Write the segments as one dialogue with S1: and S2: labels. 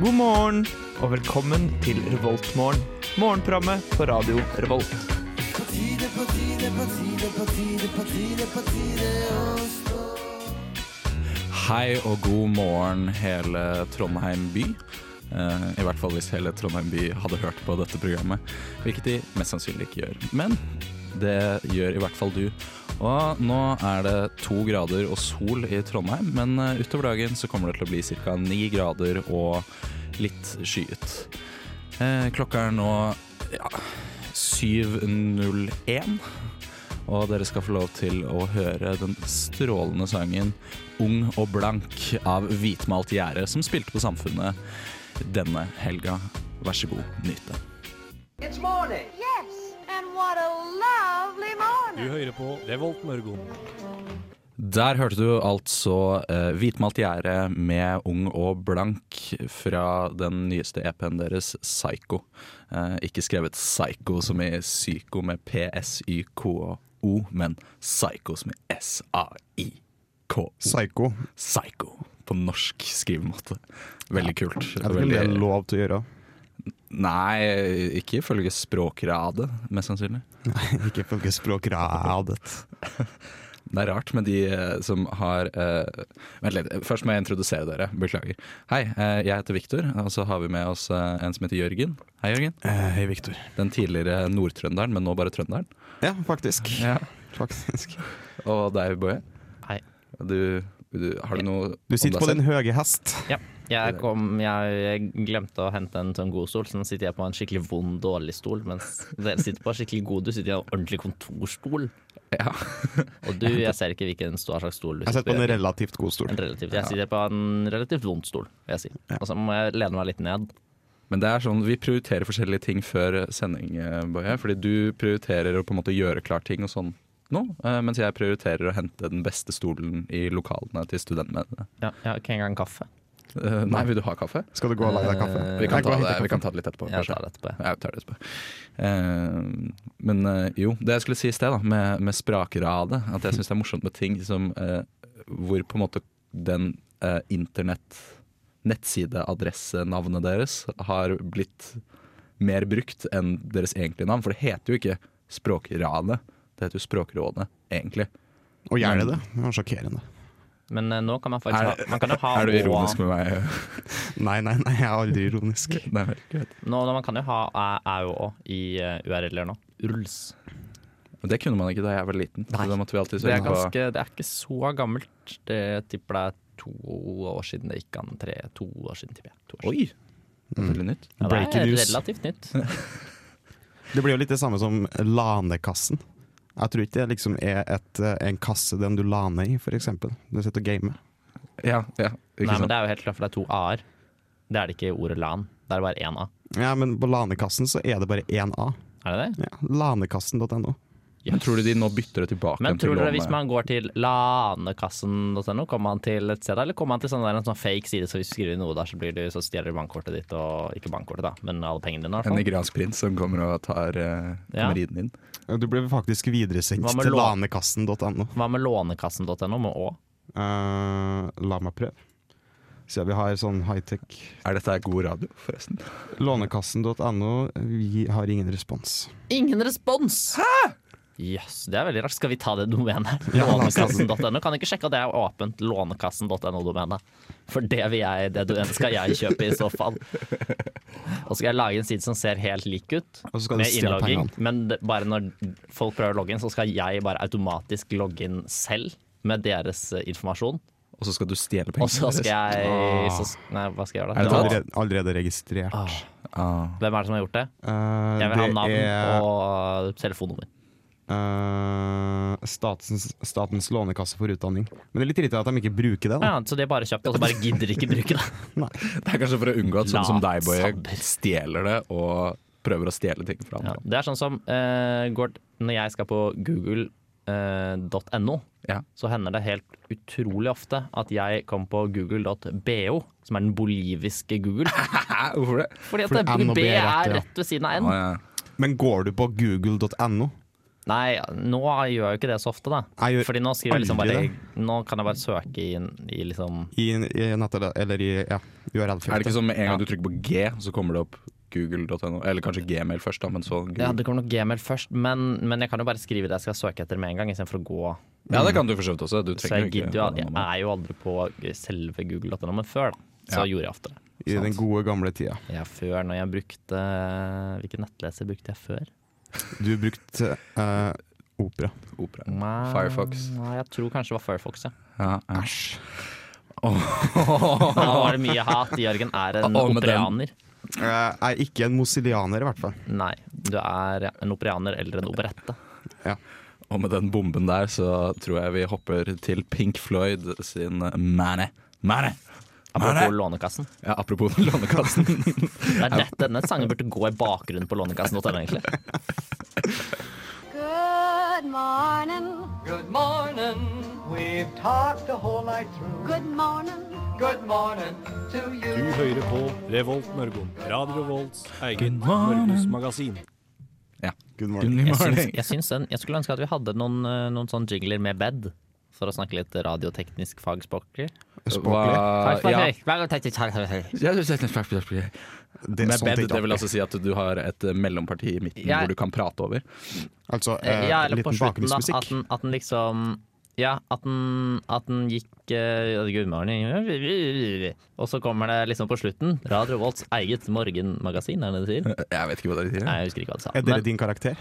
S1: morgen og velkommen til Revoltmorgen. Morgenprogrammet på radio Revolt.
S2: Hei og god morgen, hele Trondheim by. Eh, I hvert fall hvis hele Trondheim by hadde hørt på dette programmet, hvilket de mest sannsynlig ikke gjør. Men det gjør i hvert fall du. Og nå er det to grader og sol i Trondheim, men eh, utover dagen så kommer det til å bli ca. ni grader og litt skyet. Eh, Klokka er nå ja, 7.01. Og dere skal få lov til å høre den strålende sangen 'Ung og blank' av Hvitmalt gjerde, som spilte på Samfunnet denne helga. Vær så god, nyt det.
S3: It's morning.
S4: Yes, and what a lovely morning.
S5: Du hører på Revolt Mørgon.
S2: Der hørte du altså eh, 'Hvitmalt gjerde' med 'Ung og blank' fra den nyeste EP-en deres, 'Psycho'. Eh, ikke skrevet 'psycho' som i psyko med P-S-Y-K-O, men 'psycho' som i S-A-I-K-O.
S6: Psycho.
S2: Psycho på norsk skrivemåte. Veldig kult.
S6: Jeg vet ikke om det er
S2: Veldig-
S6: lov til å gjøre.
S2: Nei, ikke ifølge språkradet, mest sannsynlig.
S6: Ikke ifølge språkradet.
S2: Det er rart med de eh, som har eh, Vent litt, først må jeg introdusere dere. Beklager. Hei, eh, jeg heter Viktor, og så har vi med oss eh, en som heter Jørgen. Eh, Hei, Jørgen.
S6: hei, Viktor.
S2: Den tidligere nordtrønderen, men nå bare trønderen.
S6: Ja, faktisk.
S2: Ja.
S6: faktisk.
S2: Og deg, Boje.
S7: Hei.
S2: Du, du, har du noe
S6: Du sitter på
S2: om deg
S6: din høye hest.
S7: Jeg, kom, jeg glemte å hente en sånn god stol, så nå sitter jeg på en skikkelig vond, dårlig stol. Mens dere sitter på en skikkelig god, du sitter i en ordentlig kontorstol.
S2: Ja.
S7: Og du, jeg ser ikke hvilken stor slags stol du
S6: Jeg sitter
S7: sitter
S6: på
S7: på.
S6: en relativt god stol.
S7: En relativt, jeg sitter på en relativt vond stol, vil jeg si. Og så må jeg lene meg litt ned.
S2: Men det er sånn, vi prioriterer forskjellige ting før sending, eh, Boje. Fordi du prioriterer å på en måte gjøre klar ting og sånn nå. eh, Mens jeg prioriterer å hente den beste stolen i lokalene til studentmediene.
S7: Ja, jeg har ikke engang kaffe.
S2: Eh, Nei, vil du ha kaffe?
S6: Skal du gå og lage deg kaffe?
S2: Eh, Vi
S6: Jeg
S2: kan,
S6: går
S2: ta
S6: og henter
S2: det, vi
S6: kaffe.
S2: kan ta det litt etterpå.
S7: Jeg
S2: kanskje.
S7: tar det etterpå.
S2: Ja, vi tar det etterpå. Eh, men eh, jo, det jeg skulle si i sted, da, med, med sprakradet, at jeg syns det er morsomt med ting som eh, Hvor på en måte den eh, internett nettsideadressenavnet deres har blitt mer brukt enn deres egentlige navn. For det heter jo ikke Språkradet, det heter jo Språkrådet, egentlig.
S6: Og gjør
S2: Mm.
S6: det det? Det var sjokkerende.
S7: Men eh, nå kan man faktisk
S2: Er,
S7: ha, man kan jo ha
S2: er du ironisk
S7: og,
S2: med meg?
S6: Nei, nei, nei, jeg er aldri ironisk.
S2: Nei, vel.
S7: nå, nå, Man kan jo ha æ, æ og å i eh, URL-er nå. Uls.
S2: Og Det kunne man ikke da jeg var liten. Så da måtte vi alltid
S7: Det er,
S2: søke på
S7: ganske, det er ikke så gammelt. Det tipper det er to år siden det gikk an. Tre, to år siden, tipper jeg. To år siden.
S2: Oi! Det
S7: Mm.
S2: er veldig nytt.
S7: Ja, det
S6: Breaking
S7: er
S6: news.
S7: relativt nytt.
S6: Det blir jo litt det samme som lanekassen. Jeg tror ikke det liksom er et, eh, en kasse den du laner i, f.eks. Du sitter og gamer.
S2: Ja, ja, ikke
S7: Nei, men
S2: sant?
S7: det er jo helt klart, for det er to a-er. Det er det ikke i ordet LAN. Det er bare én a.
S6: Ja, men på lanekassen så er det bare én A.
S7: Er det det?
S6: Ja, Lanekassen.no.
S2: Men tror du de nå bytter det tilbake?
S7: Men
S2: igjen til
S7: tror dere
S2: låne-
S7: hvis man går til lanekassen.no, kommer man til et sted, eller kommer man til sånn der, en sånn fake side, så hvis du skriver noe der, så, blir du, så stjeler de bankkortet ditt, og ikke bankkortet, da, men alle pengene dine,
S2: En
S7: i hvert fall.
S2: nigeriansk prins som kommer og tar eh,
S7: Ja.
S2: kommer ridende inn.
S6: Eh, Du blir faktisk videresendt
S7: Hva med
S6: til
S7: lån-
S6: lanekassen.no.
S7: Hva med lånekassen.no med å?
S6: Eh, la meg prøve. Siden vi har sånn high-tech
S2: Er dette her god radio, forresten?
S6: Lånekassen.no, vi har ingen respons.
S7: Ingen respons! Jøss, yes, det er veldig rart. Skal vi ta det domenet?
S6: Ja, la oss ta det.
S7: Lånekassen.no. Kan ikke sjekke at det er åpent, lånekassen.no-domenet. For det, vil jeg, det domenet skal jeg kjøpe i så fall. Og så skal jeg lage en side som ser helt lik ut,
S6: Og så skal du
S7: med
S6: stjele
S7: innlogging.
S6: pengene.
S7: Men det, bare når folk prøver å logge inn, så skal jeg bare automatisk logge inn selv med deres eh, informasjon.
S2: Og så skal du stjele
S7: Og
S2: pengene
S7: så
S2: deres?
S7: skal jeg så, s- Nei, hva skal jeg
S6: Det
S7: gjøre
S6: Ah. er
S7: da?
S6: allerede, allerede registrert.
S7: Ah,
S2: Ah.
S7: Hvem er det som har gjort det?
S6: Eh,
S7: Jeg vil ha
S6: det
S7: navn
S6: er,
S7: og telefonnummer.
S6: eh, statens, statens lånekasse for utdanning. Men det er litt irriterende at de ikke bruker det. Da.
S7: Ja, så de har bare kjøpt det, og så bare gidder ikke bruke det.
S2: Det er kanskje for å unngå at sånn som deg, Boje,
S7: Latsabber.
S2: stjeler det og prøver å stjele ting fra
S7: Ja,
S2: andre.
S7: det er sånn som eh, går, Når jeg skal på eh, google.no,
S2: Ja.
S7: så hender det helt utrolig ofte at jeg kommer på google.bo, som er den boliviske Google.
S2: Hæ, hvorfor det?
S7: Fordi at
S6: Fordi
S7: det-
S6: N og
S7: B E,
S6: B er rett,
S7: er
S6: ja.
S7: rett ved siden av
S2: Å,
S7: N.
S2: ja.
S6: Men går du på google.no,
S7: Nei, nå gjør jeg jo ikke det så ofte, da.
S6: Jeg gjør
S7: Fordi nå skriver jeg liksom
S6: aldri
S7: bare Nå kan jeg bare søke i, i liksom
S6: I, i nettet, eller i ja,
S2: Er det
S6: URL-feltet.
S2: ikke sånn med en
S7: Ja.
S2: gang du trykker på G, så kommer det opp google.no? Eller kanskje Gmail først, da, men så
S7: Ja,
S2: Google.
S7: det kommer nok Gmail først, men, men jeg kan jo bare skrive det jeg skal søke etter med en gang, istedenfor å gå.
S2: Ja, det kan du for så vidt også. Du
S7: Så jeg
S2: trenger
S7: gidder jo aldri-
S2: ikke
S7: Jeg er jo aldri på selve google.no, men før, da. Så
S2: Ja.
S7: gjorde jeg ofte det.
S6: I den gode, gamle tida.
S7: Ja, før når jeg brukte Hvilken nettleser brukte jeg før?
S6: Du brukte eh, opera.
S2: opera.
S7: Nei,
S2: Mm, Firefox.
S7: Nei, jeg tror kanskje det var Firefox, ja.
S2: Ja, æsj.
S7: Nå var det mye hat. Jørgen er en
S2: Å, med den.
S7: operaner.
S6: Eh, Jeg er ikke en mozilianer, i hvert fall.
S7: Nei, du er en operaner eller en operette.
S2: Og med den bomben der så tror jeg vi hopper til Pink Floyd sin Manny. Manny!
S7: Apropos Lånekassen.
S2: Ja, apropos Lånekassen.
S7: Det er dette, denne sangen burde gå i bakgrunnen på Lånekassen.no, egentlig.
S4: Good morning.
S3: Good morning. We've talked the whole night through.
S4: Good morning.
S3: Good morning to
S5: Du
S3: you.
S5: hører på Revolt Mørgon. Radio Revolts eget
S2: Good morning.
S5: Norgesmagasin.
S6: Good morning.
S2: Good
S7: Jeg, syns,
S2: morning.
S7: jeg, syns den, jeg skulle ønske at vi hadde noen, eh, noen sånne jingler med bed, for å snakke litt radioteknisk fagspråklig.
S6: Språklig.
S2: ja.
S7: Jeg
S2: Ja, du setter en spøk på det.
S6: Det er
S2: Med
S6: sånt
S2: bed,
S6: jeg
S2: det
S6: ikke
S2: vil
S6: orker.
S2: altså si at du har et eh, mellomparti i midten
S7: sånn Jeg-
S2: hvor du kan prate over.
S6: Altså eh,
S7: Ja, eller på
S6: liten
S7: slutten, da. At
S6: bakgrunnsmusikk.
S7: den, at den liksom Ja, at den, at den gikk eh, Good morning Og så kommer det liksom på slutten. Radio Volts eget morgenmagasin, er det det sier?
S2: Jeg vet ikke hva det
S7: Nei,
S2: sier.
S7: jeg husker ikke hva det sa.
S6: Er dere din karakter?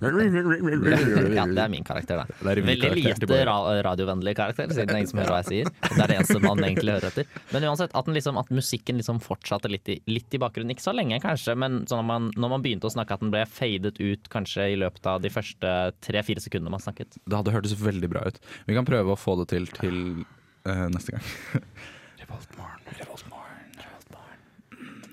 S7: Men- ja, det er min karakter, det.
S2: Det er din
S7: Veldig
S2: karakter, det
S7: lite
S2: bare.
S7: ra radiovennlig karakter, siden det er ingen som hører hva jeg sier. Og Det er det eneste man egentlig hører etter. Men uansett, at, den liksom, at musikken liksom fortsatte litt i, litt i bakgrunnen. Ikke så lenge, kanskje, men sånn at man, når man begynte å snakke, at den ble fadet ut kanskje i løpet av de første tre-fire sekundene man snakket.
S2: Det hadde hørtes veldig bra ut. Vi kan prøve å få det til til eh, neste gang. Revoltmorgen, revoltmorgen, revoltmorgen.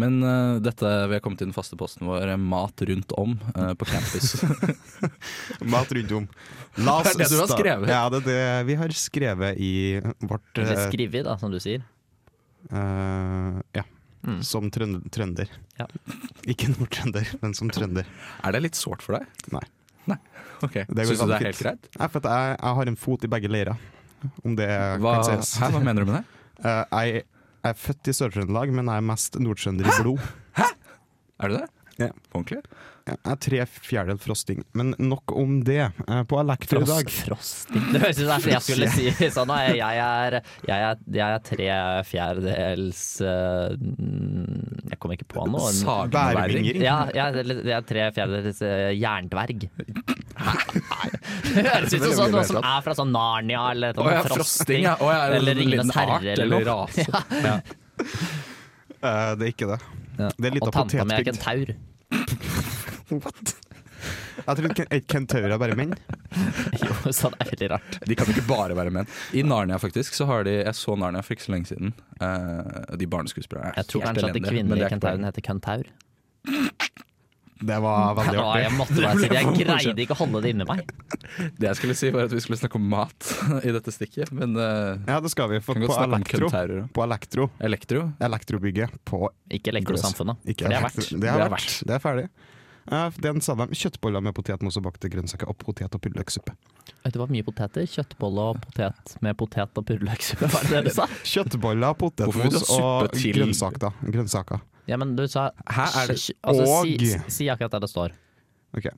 S2: Men eh, dette, vi har kommet til den faste posten vår, eh, mat rundt om eh, på campus.
S6: Mat rundt om. La oss
S2: Det er det du har
S6: sta-
S2: skrevet.
S6: Ja, det er det vi har skrevet i vårt
S7: Eller
S6: eh,
S7: skrevet, da, som du sier.
S6: eh, Ja.
S7: Mm.
S6: Som trønd- trønder.
S7: Ja.
S6: Ikke nordtrønder, men som trønder.
S2: er det litt sårt for deg?
S6: Nei.
S2: Nei. Ok,
S6: går
S2: Syns du det
S6: veldig
S2: er
S6: fint.
S2: helt greit?
S6: Nei, for at jeg, jeg har en fot i begge leirer, om det
S2: Hva,
S6: kan sies.
S2: hæ, hva mener du med det?
S6: Eh, jeg, jeg er født i Sør-Trøndelag, men jeg er mest nordtrønder i blod.
S2: Er du det?
S6: Ja.
S2: På ordentlig?
S6: Jeg er Eh, tre fjerdedel frosting, men nok om det. Eh, På Elektro i dag
S7: frosting. Det høres ut som det jeg skulle si sånn. Nei, jeg er, jeg er, jeg er tre fjerdedels eh, mm, Jeg kommer ikke på noe.
S2: Sagmværing?
S6: Bærvinger.
S7: Ja, jeg, er- jeg er tre fjerdedels eh, jerndverg. Det høres ut som sånn, noen som er fra sånn Narnia eller
S2: Å
S7: sånn
S2: ja, frosting,
S7: frosting.
S2: ja. Å, ja, en
S7: Eller
S2: liten
S7: Ringenes
S2: art
S7: herre eller
S2: eller
S7: noe.
S2: rase. Ja.
S6: Eh, Det er ikke det. Det er litt
S7: Og
S6: av
S7: tanta mi er ikke
S6: potetbygd.
S7: en taur.
S6: What? Jeg tror ikke ikke kentaurer er bare menn.
S7: Jo, så det er veldig rart.
S2: De kan ikke bare være menn. I Narnia faktisk, så har de Jeg så Narnia for ikke så lenge siden. Eh, de barneskuespillerne er
S7: Jeg tror
S2: helt
S7: kanskje at
S2: elendige,
S7: den
S2: men det
S7: kvinnelige
S2: er ikke poenget.
S7: kentauren heter køntaur.
S6: Det var veldig
S7: Ja, jeg
S6: artig.
S7: måtte bare si det. Jeg greide ikke å holde det inni meg.
S2: Det jeg skulle si, var at vi skulle snakke om mat i dette stikket, men eh,
S6: Ja, det skal vi. For
S2: Kan godt
S6: på
S2: snakke om
S6: Elektro,
S2: kentaurer også.
S6: på elektro
S2: Elektro
S6: Elektrobygget på
S7: Ikke Elektrosamfunnet.
S6: ikke
S7: For det er
S2: Det
S6: elektro- Det er
S7: verdt.
S2: er
S6: verdt. Det er ferdig. Eh, Den sa de. Kjøttboller med potetmos og bakte grønnsaker og potet- og purreløksuppe.
S7: Vet du hva mye poteter? Kjøttbolle og potet med potet og purreløksuppe, var det det du sa?
S6: Kjøttboller,
S2: Hvorfor vil du
S6: potetmos
S2: ha
S6: og
S2: suppe til-
S6: grønnsaker. grønnsaker.
S7: Ja, men du sa
S2: Hæ, er det-
S7: kj- altså, si,
S6: Og-
S7: si akkurat der det står.
S6: Ok.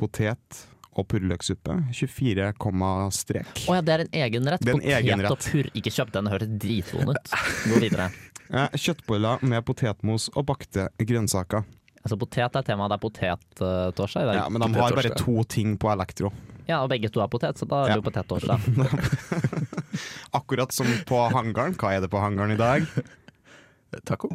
S6: Potet og purreløksuppe. 24, komma strek.
S7: Å ja, det er en egen rett.
S6: Det er en
S7: potet
S6: egen
S7: og
S6: rett.
S7: purr. Ikke kjøp den, det høres dritvond ut. Gå videre.
S6: Eh, Kjøttboller med potetmos og bakte grønnsaker.
S7: Altså, potet er temaet. Det er potettorsdag i dag.
S6: Ja,
S7: Ja,
S6: Men de har bare to ting på elektro.
S7: og begge to er potet, så da er det jo potettorsdag.
S6: Akkurat som på hangaren. Hva er det på hangaren i dag?
S2: Taco?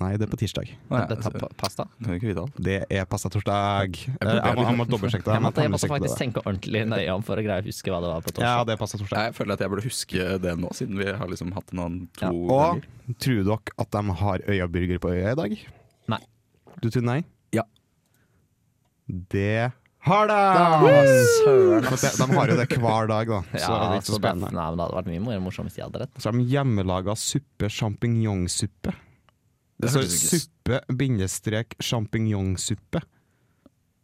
S6: Nei, det er på tirsdag.
S2: Å, ja,
S7: Det
S2: altså,
S7: tar pa- pasta.
S2: kan vi ikke vite alt.
S6: Det er pastatorsdag. Eh, Jeg må, jeg må dobbeltsjekke det.
S7: Jeg måtte, jeg måtte
S6: tannbesjekke
S7: faktisk
S6: det.
S7: tenke ordentlig nøye om for å greie å huske hva det var på
S6: Ja,
S7: torsdag.
S6: det er pastatorsdag.
S2: Nei, jeg føler at jeg burde huske det nå, siden vi har liksom hatt en annen to
S7: Ja.
S2: ganger.
S6: Og tror dere at de har Øyaburger på Øya i dag?
S7: Nei.
S6: Du tror nei?
S2: Ja.
S6: Det har de!
S7: Søren,
S6: For De, de har jo det hver dag, da. Så det er ikke så
S7: så det-
S6: spennende.
S7: Nei, men det hadde vært mye mer morsomt hvis jeg hadde rett.
S6: Så har de hjemmelaga suppe sjampinjongsuppe. Det
S2: Det
S6: står
S2: hørtes ikke s-
S6: suppe bindestrek sjampinjongsuppe.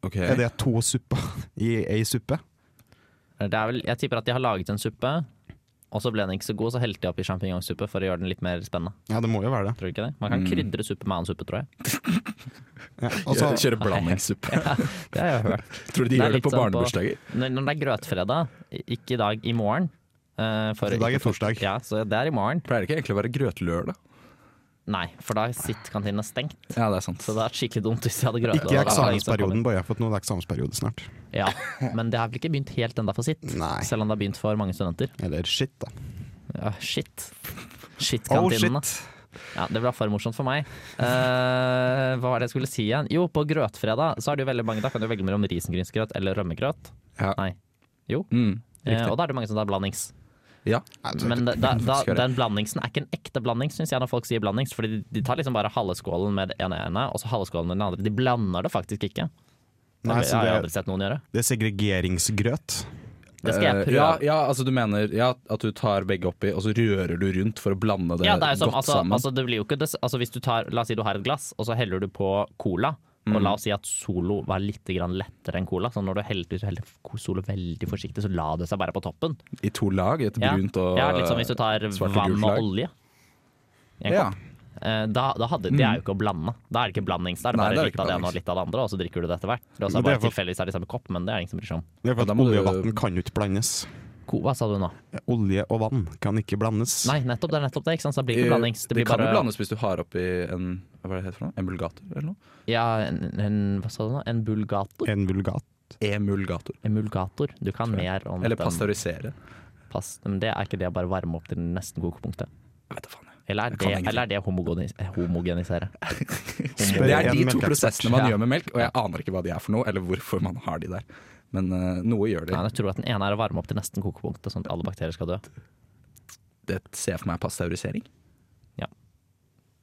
S2: Ok.
S6: Er det to supper i ei suppe?
S7: Det er vel, jeg tipper at de har laget en suppe, og så ble den ikke så god, så helte de oppi sjampinjongsuppe for å gjøre den litt mer spennende.
S6: Ja, det må jo være det.
S7: Tror du ikke det?
S6: Mm.
S7: Man kan krydre suppe med annen suppe, tror jeg.
S6: Ja, altså,
S2: Kjøre blandingssuppe.
S7: Det har jeg hørt.
S2: Tror du de
S7: Det er
S2: gjør det
S7: litt
S2: på
S7: sånn på-
S2: barnebursdager?
S7: Når, når det er grøtfredag, i- ikke i dag, i morgen eh, for
S6: I dag er
S7: ikke-
S6: torsdag.
S7: Ja, så det er i morgen.
S2: Pleier det ikke egentlig å være grøtlørdag?
S7: Nei, for da sitter kantina stengt.
S2: Ja, det er sant.
S7: Så det er skikkelig dumt hvis jeg hadde grøtlørdag.
S6: ikke i
S7: Da er det ingen som
S6: eksamensperioden, bare jeg har fått noe eksamensperiode snart.
S7: kommer. Ja, Men det har vel ikke begynt helt enda for sitt?
S6: Nei.
S7: Selv om det har begynt for mange studenter.
S6: Eller shit, da.
S7: Ja, shit.
S6: Oh
S7: Shit-kantinen. da.
S6: shit!
S7: Ja, det ble for morsomt for meg. Eh, hva var det jeg skulle si igjen? Jo, på grøtfredag så er det jo veldig mange, da kan du velge mellom risengrynsgrøt eller rømmegrøt.
S2: Ja.
S7: Nei. Jo.
S2: Mm.
S7: Eh, og da er det mange som tar blandings.
S2: Ja.
S7: Men da, da, da,
S2: Skal jeg-
S7: den blandingsen er ikke en ekte blanding, syns jeg, når folk sier blandings. Fordi de, de tar liksom bare halve skålen med det ene ene, og så halve skålen med den andre. De blander det faktisk ikke. Det
S6: Nei, så
S7: har jeg
S6: det,
S7: aldri sett noen gjøre.
S6: det er segregeringsgrøt.
S7: Det skal jeg
S2: Eh,
S7: prøve.
S2: Ja, ja, altså du mener ja, at du tar begge oppi, og så rører du rundt for å blande det,
S7: ja, det er jo som,
S2: godt
S7: altså,
S2: sammen.
S7: altså, det blir jo ikke det, altså, hvis du tar, La oss si du har et glass, og så heller du på cola.
S2: Mm.
S7: Og la oss si at Solo var litt grann lettere enn Cola. Så når du heller, hvis du heller Solo veldig forsiktig, så la det seg bare på toppen.
S2: I to lag, et
S7: Ja.
S2: brunt og
S7: ja, litt som hvis du tar
S2: svart og
S7: vann
S2: gult
S7: og
S2: lag.
S7: olje. i en
S2: Ja. Mm.
S7: kopp. Eh, Da, da hadde, det er jo ikke å blande. Da er det ikke blandings. Da er det
S2: Nei,
S7: bare
S2: det er
S7: litt
S2: ikke
S7: av det ene
S2: blandings.
S7: og litt av det andre, og så drikker du det etter hvert. Det er
S6: Men
S7: også
S6: det er
S7: bare
S6: for-
S7: tilfeldigvis er det i samme kopp, men det er det ingen som bryr seg om.
S6: Det er
S2: Ja,
S6: for
S2: da
S6: at
S2: må
S6: olje
S2: du-
S6: og vann kan jo ikke blandes.
S7: Ko- Hva sa du nå?
S6: Olje og vann kan ikke blandes.
S7: Nei, nettopp det. er nettopp Det ikke sant? Så det blir
S2: Eh,
S7: ikke blandings.
S2: Det,
S7: Det blir
S2: kan
S7: bare
S2: jo blandes hvis du har oppi en Hva er det heter for noe? En bulgator eller noe?
S7: ja, en, en, Hva sa du nå? En bulgator?
S6: En vulgat.
S2: Emulgator.
S7: Emulgator. Du kan mer om
S2: Eller
S7: den-
S2: pasteurisere.
S7: Pass. Men det er ikke det å bare varme opp til nesten kokepunktet?
S2: Jeg vet da faen. jeg.
S7: Eller er
S2: kan
S7: det,
S2: ingenting.
S7: eller er det homogenis homogenisere?
S6: Spør
S2: Det er
S6: en
S2: de to
S6: melkeekspert.
S2: prosessene man
S7: Ja.
S2: gjør med melk, og jeg aner ikke hva de er for noe, eller hvorfor man har de der. Men eh, noe gjør de.
S7: Nei, jeg tror at den ene er å varme opp til nesten kokepunktet, sånn at alle bakterier skal dø.
S2: Det ser jeg for meg er pasteurisering.
S7: Ja.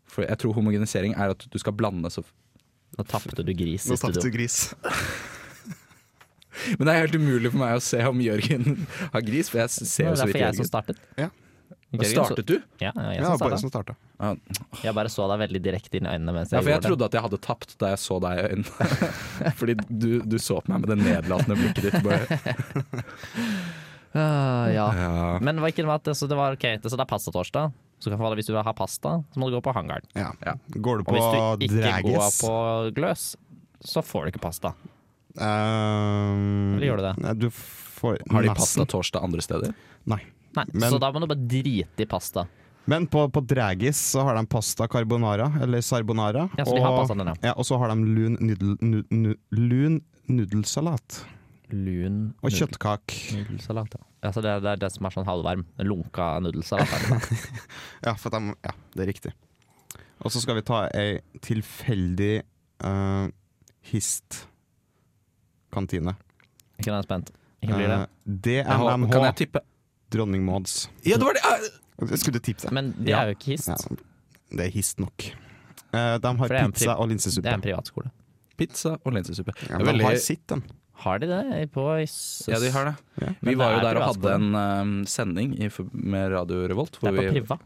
S2: For jeg tror homogenisering er at du skal blande så
S7: Nå tapte du gris i
S6: Nå tapte
S7: studio.
S6: du gris.
S2: Men det er helt umulig for meg å se om Jørgen har gris, for jeg ser jo
S7: Det var
S2: så
S7: derfor
S2: vidt
S7: jeg som
S2: Jørgen.
S7: startet.
S6: Ja.
S2: Da
S7: Jørgen, så-
S2: startet du?
S7: Ja, ja, jeg
S6: Ja,
S7: som
S6: bare
S7: startet.
S6: som starta.
S2: Ja,
S7: Jeg bare så deg veldig direkte inn i øynene mens
S2: Ja,
S7: jeg
S2: for jeg
S7: gjorde det.
S2: trodde at jeg hadde tapt da jeg så deg i øynene. Fordi du, du så på meg med det nedlatende blikket ditt. Bare.
S7: Ah, ja.
S2: Ja.
S7: Men hva ikke det var at så det var ok, så det er pastatorsdag. Så kan du, hvis du vil ha pasta, så må du gå på hangaren.
S6: Ja.
S2: Ja.
S6: Går du
S7: Og
S6: på
S7: hvis du ikke går
S6: Dragis?
S7: på gløs, så får du ikke pasta.
S6: Ehm,
S7: Eller gjør du det?
S6: Nei, du får
S2: Har de
S6: nesten.
S2: pasta torsdag andre steder?
S6: Nei.
S7: Nei,
S6: Men-
S7: Så da må du bare drite i pasta.
S6: Men på, på Dragis så har de pasta carbonara, eller sarbonara.
S7: Ja, så de har pastaen din, ja.
S6: og så har de lun, nudel, nu, nu, lun nudelsalat.
S7: Lun
S6: Og
S7: nudel-
S6: kjøttkake.
S7: nudelsalat. Ja. Altså det, det er det som er sånn halvvarm. Lunka nudelsalat. er det da.
S6: Ja, for at de, ja, det er riktig. Og så skal vi ta ei tilfeldig eh, hist-kantine.
S7: Ikke den er spent. Ikke blir det.
S6: Eh, det er
S2: Jaha,
S6: MMH,
S2: Kan jeg tippe?
S6: Dronning Mauds.
S2: Ja, det var det! Ah!
S6: Skulle du tipse?
S7: Men det
S2: Ja.
S7: er jo ikke
S6: Eh,
S7: hist.
S6: Ja, det er hist nok. Eh, de har
S7: For det er en
S6: pizza
S7: pri-
S6: og
S7: Det
S6: linsesuppe.
S7: er en privatskole.
S2: Pizza og linsesuppe.
S6: Ja,
S2: Det er
S6: men de har
S2: veldig-
S6: sitt, de.
S7: Har de det på s-
S2: Ja, de har det.
S6: Ja.
S2: Vi
S7: Men
S2: var jo
S7: det er
S2: der og hadde
S7: privatskole.
S2: en eh, sending i, for- med Radio Revolt.
S7: Det er på
S2: vi-
S7: priva.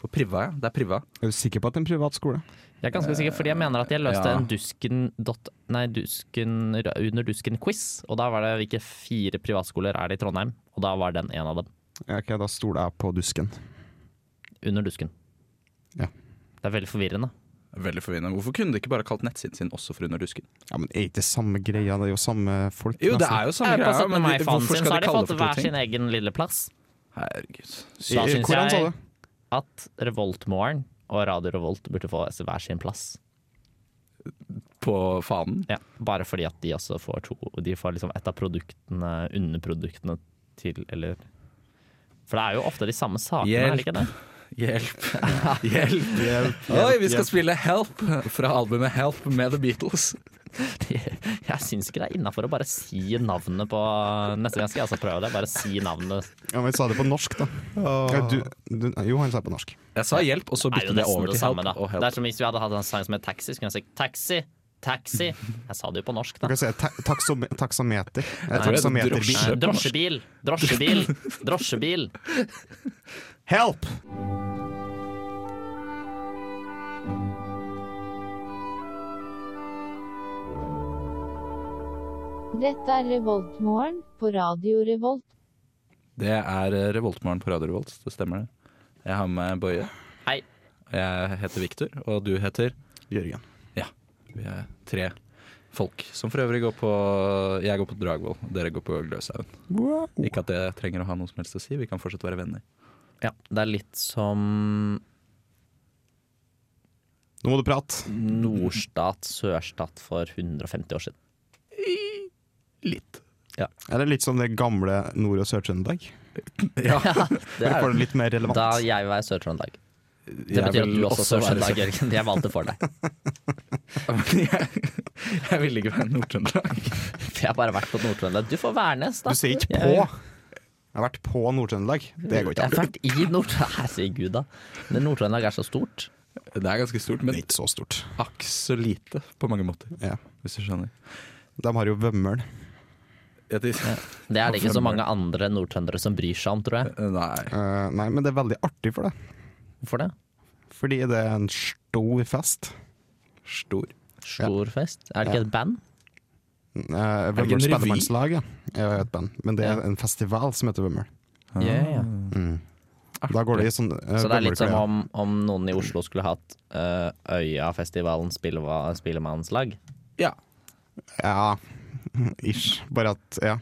S2: På Priva, ja. Det er Priva.
S6: Er du sikker på at det er en privat skole?
S7: Jeg er ganske sikker, fordi jeg mener at jeg løste
S2: ja.
S7: en dusken, dot, nei, dusken under dusken-quiz. Og da var det hvilke fire privatskoler er det i Trondheim, og da var den en av dem.
S6: Ja, ok, da stoler jeg på dusken.
S7: Under dusken.
S6: Ja.
S7: Det er veldig forvirrende.
S2: Veldig forvirrende. Hvorfor kunne de ikke bare kalt nettsiden sin også for Under dusken?
S6: Ja, men Er ikke det samme greia? Det er jo samme folk.
S2: Jo, det
S6: nesten.
S2: er jo samme
S7: Ja, på
S2: greia,
S7: 17.
S2: men de-
S7: mai-fanen
S2: hvorfor
S7: sin så
S2: skal
S7: har
S2: de
S7: de
S2: kalle det
S7: fått
S2: for
S7: hver
S2: to ting?
S7: sin egen lille plass.
S2: Herregud.
S6: I-
S7: Da syns
S6: Hvordan Eh, sa du?
S7: jeg at Revoltmorgen og Radio Revolt burde få hver sin plass.
S2: På fanen?
S7: Ja, bare fordi at de også får to De får liksom et av produktene, underproduktene til, eller For det er jo ofte de samme sakene, er det ikke det?
S2: Hjelp. Hjelp. Oi, vi skal spille Help fra albumet Help med The Beatles.
S7: Jeg syns ikke det er innafor å bare si navnet på Neste gang skal jeg altså prøve det. Bare si navnet.
S6: Ja, men Jeg sa det på norsk, da. Ja, du, du, jo, han sa det på norsk.
S2: Jeg sa hjelp, og så
S7: Det er jo
S2: byttet jeg
S7: nesten
S2: over
S7: det
S2: til
S7: samme,
S2: Help.
S7: da.
S2: Og
S7: Det
S2: help.
S7: er som hvis vi hadde hatt en sang som het Taxi, så kunne jeg sagt Taxi, taxi. Jeg sa det jo på norsk,
S6: Du
S7: da.
S6: kan si ta taksom taksameter. Eh,
S2: tror det er
S6: taksameterbil.
S7: Nei,
S2: drosje. på norsk.
S7: drosjebil, drosjebil, drosjebil.
S6: Help!
S8: Dette er Revoltmorgen på Radio Revolt.
S2: Det er eh, Revoltmorgen på Radio Revolt, det stemmer det. Jeg har med meg Bøye.
S7: Hei.
S2: Jeg heter Victor, og du heter
S6: Jørgen.
S2: Ja. Vi er tre folk som for øvrig går på Jeg går på Dragvoll, dere går på Gløshaugen. Ikke at det trenger å ha noe som helst å si, vi kan fortsatt være venner.
S7: Ja, det er litt som
S6: Nå må du prate.
S7: nordstat, sørstat for 150 år siden.
S2: Litt.
S6: Er det litt som det gamle Nord- og Sør-Trøndelag?
S2: Ja.
S7: Det
S6: Bare
S7: er,
S6: får det litt mer relevant.
S7: da jeg var i Sør-Trøndelag. Det
S2: Jeg
S7: betyr at
S2: vil
S7: du også er
S2: også være
S7: Sør-Trøndelag, Jørgen. Jeg valgte for deg.
S2: jeg, jeg ville ikke være Nord-Trøndelag.
S7: For jeg har bare vært på Nord-Trøndelag. Du får Værnes, da.
S6: Du sier ikke på.
S7: Jeg-
S6: Jeg har vært på Nord-Trøndelag. Det går
S7: Jeg
S6: ikke
S7: har
S6: an.
S7: vært i Nord-Trøndelag. Herregud, da. Men Nord-Trøndelag er så stort.
S2: Det er ganske stort,
S6: Det
S2: men
S6: er ikke så stort.
S2: akk så lite på mange måter,
S6: Ja.
S2: hvis du skjønner.
S6: De har jo Vømmøl.
S2: Jeg tenker-
S7: Det er det ikke så mange andre nordtrøndere som bryr seg om, tror jeg.
S2: Nei.
S6: Eh, nei, men det er veldig artig for det.
S7: Hvorfor det?
S6: Fordi det er en stor fest.
S2: Stor.
S7: Stor fest. Er det ikke et band?
S6: Uh,
S2: det ikke en
S6: Vømmøl
S2: revy?
S6: Spellemannslag ja. er jo et band, men det er en festival som heter Vømmøl.
S2: Ah.
S6: Da går det i sånn eh,
S7: Så det er litt som
S6: Vømmølklær.
S7: om, om noen i Oslo skulle hatt uh, Øyafestivalen Spilleva- Spillemannslag.
S2: Ja.
S6: Ja, ish. Bare at, ja.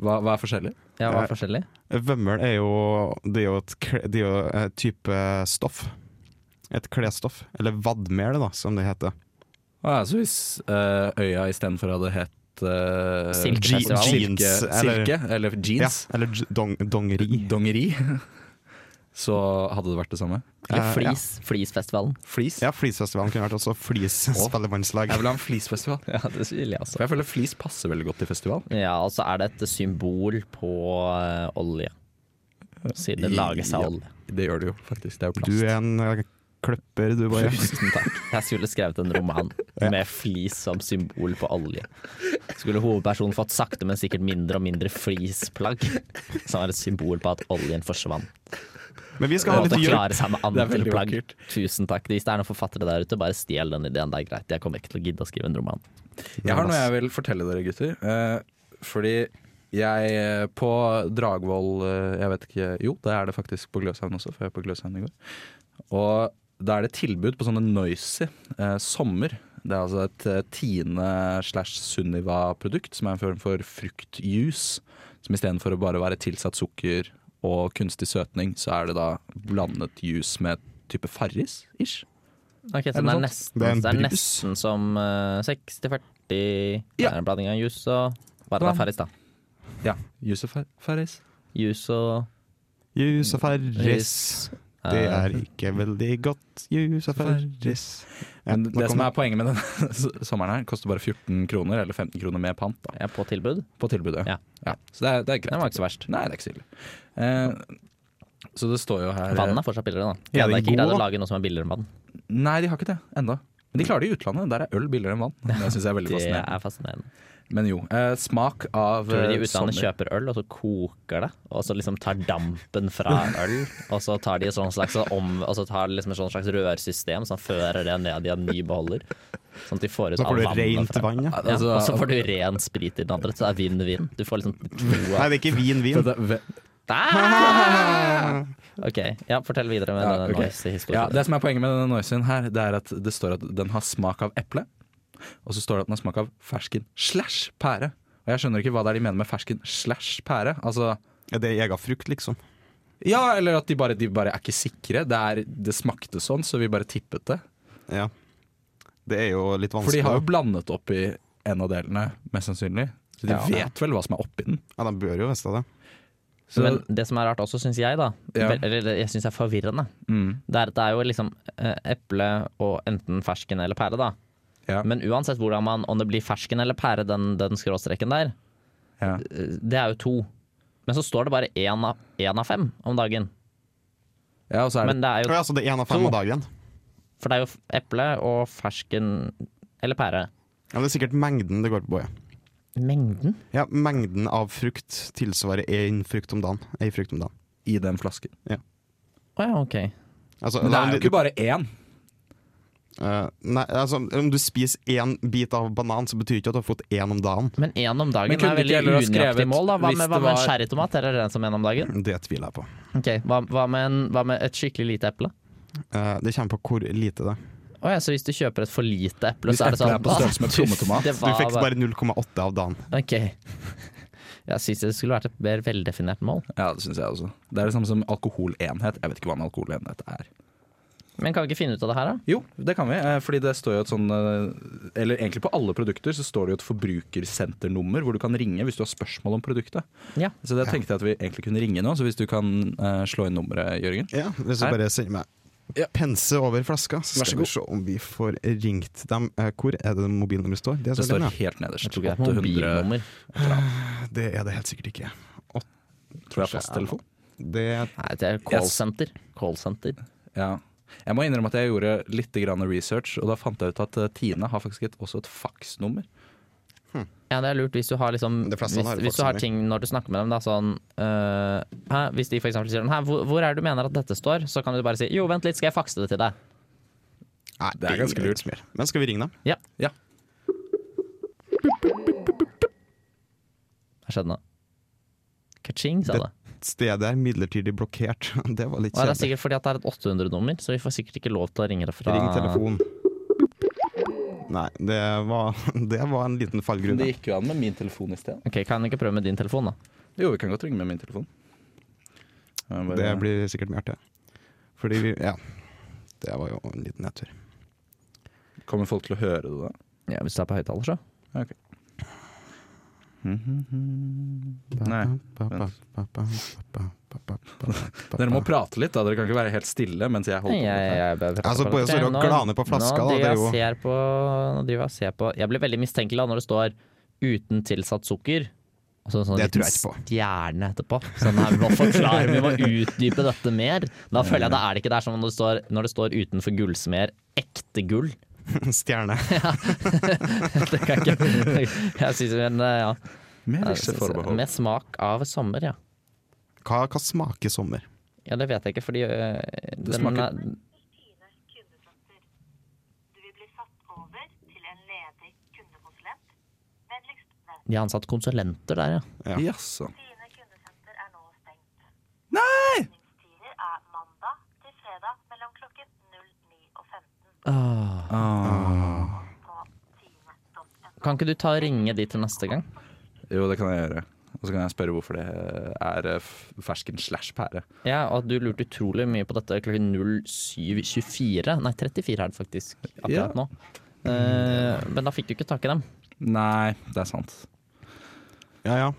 S2: Hva, hva er forskjellig?
S7: Ja, hva er forskjellig?
S6: Vømmøl er jo Det er jo et, kle- det er jo et type stoff. Et klesstoff. Eller vadmel, da, som det heter.
S2: Ah, ja, så hvis uh, øya istedenfor hadde hett uh,
S7: Silke-
S2: je-
S7: Festival.
S2: silke,
S6: Jeans, eller-
S2: silke, eller
S6: Ja,
S2: jeans,
S6: eller j- dong, dongeri.
S2: dongeri, så hadde det vært det samme.
S7: Eller
S6: Eh,
S7: Flis, Flisfestivalen.
S2: Flis.
S6: Ja, Flisfestivalen kunne vært også Flisspellemannslag.
S2: Jeg vil ha en flisfestival.
S7: Ja, det vil jeg også.
S2: For jeg føler flis passer veldig godt til festival.
S7: Ja, og så er det et symbol på eh, olje. Siden det lages
S2: Ja.
S7: av olje.
S2: Det gjør det jo, faktisk. Det er jo
S6: Du
S2: plast.
S6: er en eh, kløpper, du bare.
S7: Tusen takk. Jeg skulle skrevet en roman med flis som symbol på olje. Skulle hovedpersonen fått sakte, men sikkert mindre og mindre flisplagg, som er et symbol på at oljen forsvant.
S6: Men vi skal ha
S7: Og at
S6: litt
S7: det
S6: jul.
S7: klarer seg med
S2: Det er
S7: andre
S2: veldig
S7: plagg.
S2: vakkert.
S7: Tusen takk. Hvis det er noen forfattere der ute, bare stjel den ideen. Det er greit. Jeg kommer ikke til å gidde å skrive en roman.
S2: Jeg har noe jeg vil fortelle dere, gutter. Eh, fordi jeg eh, på Dragvoll eh, Jeg vet ikke Jo, det er det faktisk på Gløshaugen også, for jeg var på Gløshaugen i går. Og da er det tilbud på sånne Noisy eh, sommer. Det er altså et eh, Tine slash Sunniva-produkt, som er en form for fruktjuice. Som istedenfor å bare være tilsatt sukker og kunstig søtning, så er det da blandet juice med type Farris-ish.
S7: Ok, så
S2: Er det
S7: den er
S2: sant?
S7: nesten,
S6: Det er en
S7: så det er
S6: brus.
S7: nesten som eh, 60-40 Det
S2: Ja.
S7: er en blanding av juice og Hva er det
S2: Bland-
S7: da, Farris, da?
S2: Ja. Juice og far- Farris.
S7: Juice og
S6: Jus og ferris.
S7: eh,
S6: Det er ikke veldig godt. Jus og ferris. Ja,
S2: Men
S6: nå
S2: det som
S6: kommer-
S2: er poenget med denne s- sommeren her, koster bare 14 kroner, eller 15 kroner med pant, da,
S7: er på tilbud.
S2: på tilbudet.
S7: Ja.
S2: Så det er, det er greit.
S7: Den var ikke så verst.
S2: Nei, det er ikke så ille. Eh, så det står jo her
S7: Vann er fortsatt billigere, da.
S6: Ja,
S7: det er
S6: den
S7: ikke
S6: er
S7: greit å
S6: god.
S7: lage noe som er billigere enn vann.
S2: Nei, de har ikke det enda. Men de klarer det i utlandet. Der er øl billigere enn vann. Det syns jeg er veldig
S7: Det
S2: fascinerende.
S7: er fascinerende.
S2: Men jo. Eh, smak av
S7: Tror du de
S2: eh,
S7: i utlandet kjøper øl, og så koker det, og så liksom tar dampen fra øl, og så tar de et sånt slags, om, og så tar de liksom et sånt slags rørsystem som fører det ned i en ny beholder. Sånn at de får ut
S6: Da får
S7: all
S6: du
S7: vannet
S6: rent
S7: fra
S6: vann, ja.
S7: ja,
S2: Altså,
S7: og så får du ren sprit i den andre, så det er vinn-vinn. Du får liksom to
S6: Nei,
S7: av
S6: det er ikke vin-vin.
S2: Dette- ve-
S7: Ah! OK, ja, fortell videre med
S2: Ja,
S7: denne
S2: ok.
S7: noise-historien.
S2: Ja, det som er poenget med denne noisen her, det er at det står at den har smak av eple. Og så står det at den har smak av fersken slash pære. Og jeg skjønner ikke hva det er de mener med fersken slash pære. Altså,
S6: Ja, Det er egen frukt, liksom.
S2: ja, eller at de bare, de bare er ikke sikre. Det, er, det smakte sånn, så vi bare tippet det.
S6: Ja. Det er jo litt
S2: For de
S6: vanskelig.
S2: har jo blandet opp i en av delene, mest sannsynlig. Så de
S6: Ja.
S2: vet vel hva som er oppi den.
S6: Ja, de bør jo visste det.
S2: Så,
S7: Men det som er rart også, syns jeg, da,
S2: Ja.
S7: vel, eller det- jeg syns er forvirrende,
S2: mm,
S7: det er, det er jo liksom eh, eple og enten fersken eller pære, da.
S2: ja,
S7: Men uansett hvordan man, om det blir fersken eller pære, den, den skråstreken der,
S2: ja.
S7: eh, det er jo to. Men så står det bare én av, én av fem om dagen.
S2: ja, og så er det
S7: Men det er jo,
S6: Ja, så det er én av fem
S7: To.
S6: om dagen.
S7: for det er jo f- eple og fersken eller pære.
S6: Ja, det er sikkert mengden det går på. Ja.
S7: Mengden?
S6: Ja, mengden av frukt tilsvarer én frukt om dagen. Ei frukt om dagen.
S2: i den flasken.
S7: Å ja, ok.
S6: Altså,
S2: Men det
S6: da-
S2: er jo
S6: du-
S2: ikke bare én.
S6: Eh, nei, altså, om du spiser én bit av banan, så betyr ikke at du har fått én om dagen.
S7: Men én om dagen
S2: Men kunne
S7: er
S2: du ikke
S7: veldig
S2: heller ha skrevet
S7: unøyaktig mål. da Hva
S2: hvis
S7: med, hva
S2: det
S7: med en
S2: var-
S7: sherrytomat? Er det den som én om dagen?
S6: Det tviler jeg på.
S7: Ok, hva, hva, med en, hva med et skikkelig lite eple?
S6: Eh, det kommer på hvor lite det er.
S7: Å ja, så hvis du kjøper et for lite eple,
S2: Hvis
S7: så er det
S2: eplet
S7: sånn
S2: er på størrelse med trommetomat.
S7: Det
S6: Du
S7: var
S6: fikk bare 0,8 av dagen.
S7: Ok. Jeg syns det skulle vært et mer veldefinert mål.
S2: Ja, det syns jeg også. Det er det samme som alkoholenhet. Jeg vet ikke hva en alkoholenhet er.
S7: Men kan vi ikke finne ut av det her, da?
S2: Jo, det kan vi. eh, Fordi det står jo et sånn eh, Eller egentlig på alle produkter så står det jo et forbrukersenternummer hvor du kan ringe hvis du har spørsmål om produktet.
S7: Ja.
S2: Så det tenkte jeg at vi egentlig kunne ringe nå, så hvis du kan eh, slå inn nummeret, Jørgen.
S6: Ja, hvis du
S2: Her.
S6: bare sender meg
S2: Ja.
S6: pense over flaska, så
S2: Vær så
S6: skal
S2: god.
S6: vi se om vi får ringt dem. Eh, Hvor er det mobilnummeret står? Det, er
S2: Det står
S6: Sørlandet,
S2: helt nederst.
S7: Jeg tror ikke det er et
S2: 800
S7: mobilnummer.
S6: ja. det er det helt sikkert ikke.
S2: Tror jeg er fasttelefon.
S6: Det,
S7: Nei, det er callsenter. Callsenter.
S2: Ja. Jeg må innrømme at jeg gjorde litt grann research, og da fant jeg ut at eh, Tine har faktisk et, også et faksnummer.
S7: Ja, det er lurt hvis du har liksom
S6: De
S7: Hvis,
S6: fleste har
S7: hvis du har
S6: faxnummer.
S7: ting når du snakker med dem, da sånn øh, hæ, Hvis de for eksempel sier sånn Hæ, hvor, hvor er det du mener at dette står? Så kan du bare si Jo, vent litt, skal jeg fakse det til deg?
S6: nei,
S2: Det er ganske lurt.
S6: mer. Men skal vi ringe dem?
S7: Ja.
S2: Ja.
S7: Hva skjedde nå? Kaching, sa
S6: Det-
S7: det.
S6: Stedet er midlertidig blokkert. Det var litt
S7: Og det er
S6: kjedelig.
S7: sikkert fordi at det er et 800-nummer, så vi får sikkert ikke lov til å ringe det fra
S6: Ring telefon. Nei, det var, det var en liten
S2: Men
S6: fallgruve.
S2: det gikk jo an med min telefon i sted.
S7: Ok, Kan du ikke prøve med din telefon, da?
S2: Jo, vi kan godt ringe med min telefon. Jeg bare-
S6: Det blir sikkert mye artig. Fordi vi Ja. Det var jo en liten nedtur.
S2: Kommer folk til å høre det da?
S7: Ja, Hvis det er på høyttaler, så.
S2: Ok. Nei, Dere må prate litt, da. Dere kan ikke være helt stille mens jeg holder
S7: Jeg,
S2: på. med
S7: jeg,
S2: dette her.
S7: jeg, jeg,
S6: Altså, bare står og glaner på flaska, da,
S7: nå,
S6: det er
S7: driver
S6: jo-
S7: jeg ser på, nå driver jeg og ser på Jeg blir veldig mistenkelig da når det står 'uten tilsatt sukker'. Og så en sånn
S6: Det
S7: liten
S6: tror jeg ikke på.
S7: stjerne etterpå. Sånn her, Vi må forklare, vi må utdype dette mer. Da føler jeg da er det ikke der som når det står, når det står 'utenfor gullsmeder ekte gull'.
S6: Stjerne.
S7: Det kan jeg ikke Jeg synes, men, eh, ja.
S2: Med
S7: Jeg
S2: visse
S7: synes-
S2: forbehold.
S7: Med smak av sommer, ja.
S6: Hva, hva smaker sommer?
S7: Ja, det vet jeg ikke, fordi øh, den
S2: smaker-
S7: er-
S9: kundesatter. Du vil bli satt over til en ledig kundekonsulent. Vennligst vent.
S7: De har ansatt konsulenter der, ja.
S6: Ja.
S2: Jaså.
S9: Dine kundesenter er nå stengt. Nei! Åpningstider er mandag til fredag mellom klokken 09 og 15
S6: Ah.
S9: på tine.no.
S7: Kan ikke du ta og ringe de til neste gang?
S2: Jo, det kan jeg gjøre. Og så kan jeg spørre hvorfor det er eh, f- fersken slash pære.
S7: Ja, og at du lurte utrolig mye på dette klokken 07.24. Nei, 34 er det faktisk
S2: Ja.
S7: akkurat nå. Eh, men da fikk du ikke tak i dem.
S2: Nei, det er sant.
S6: Ja ja,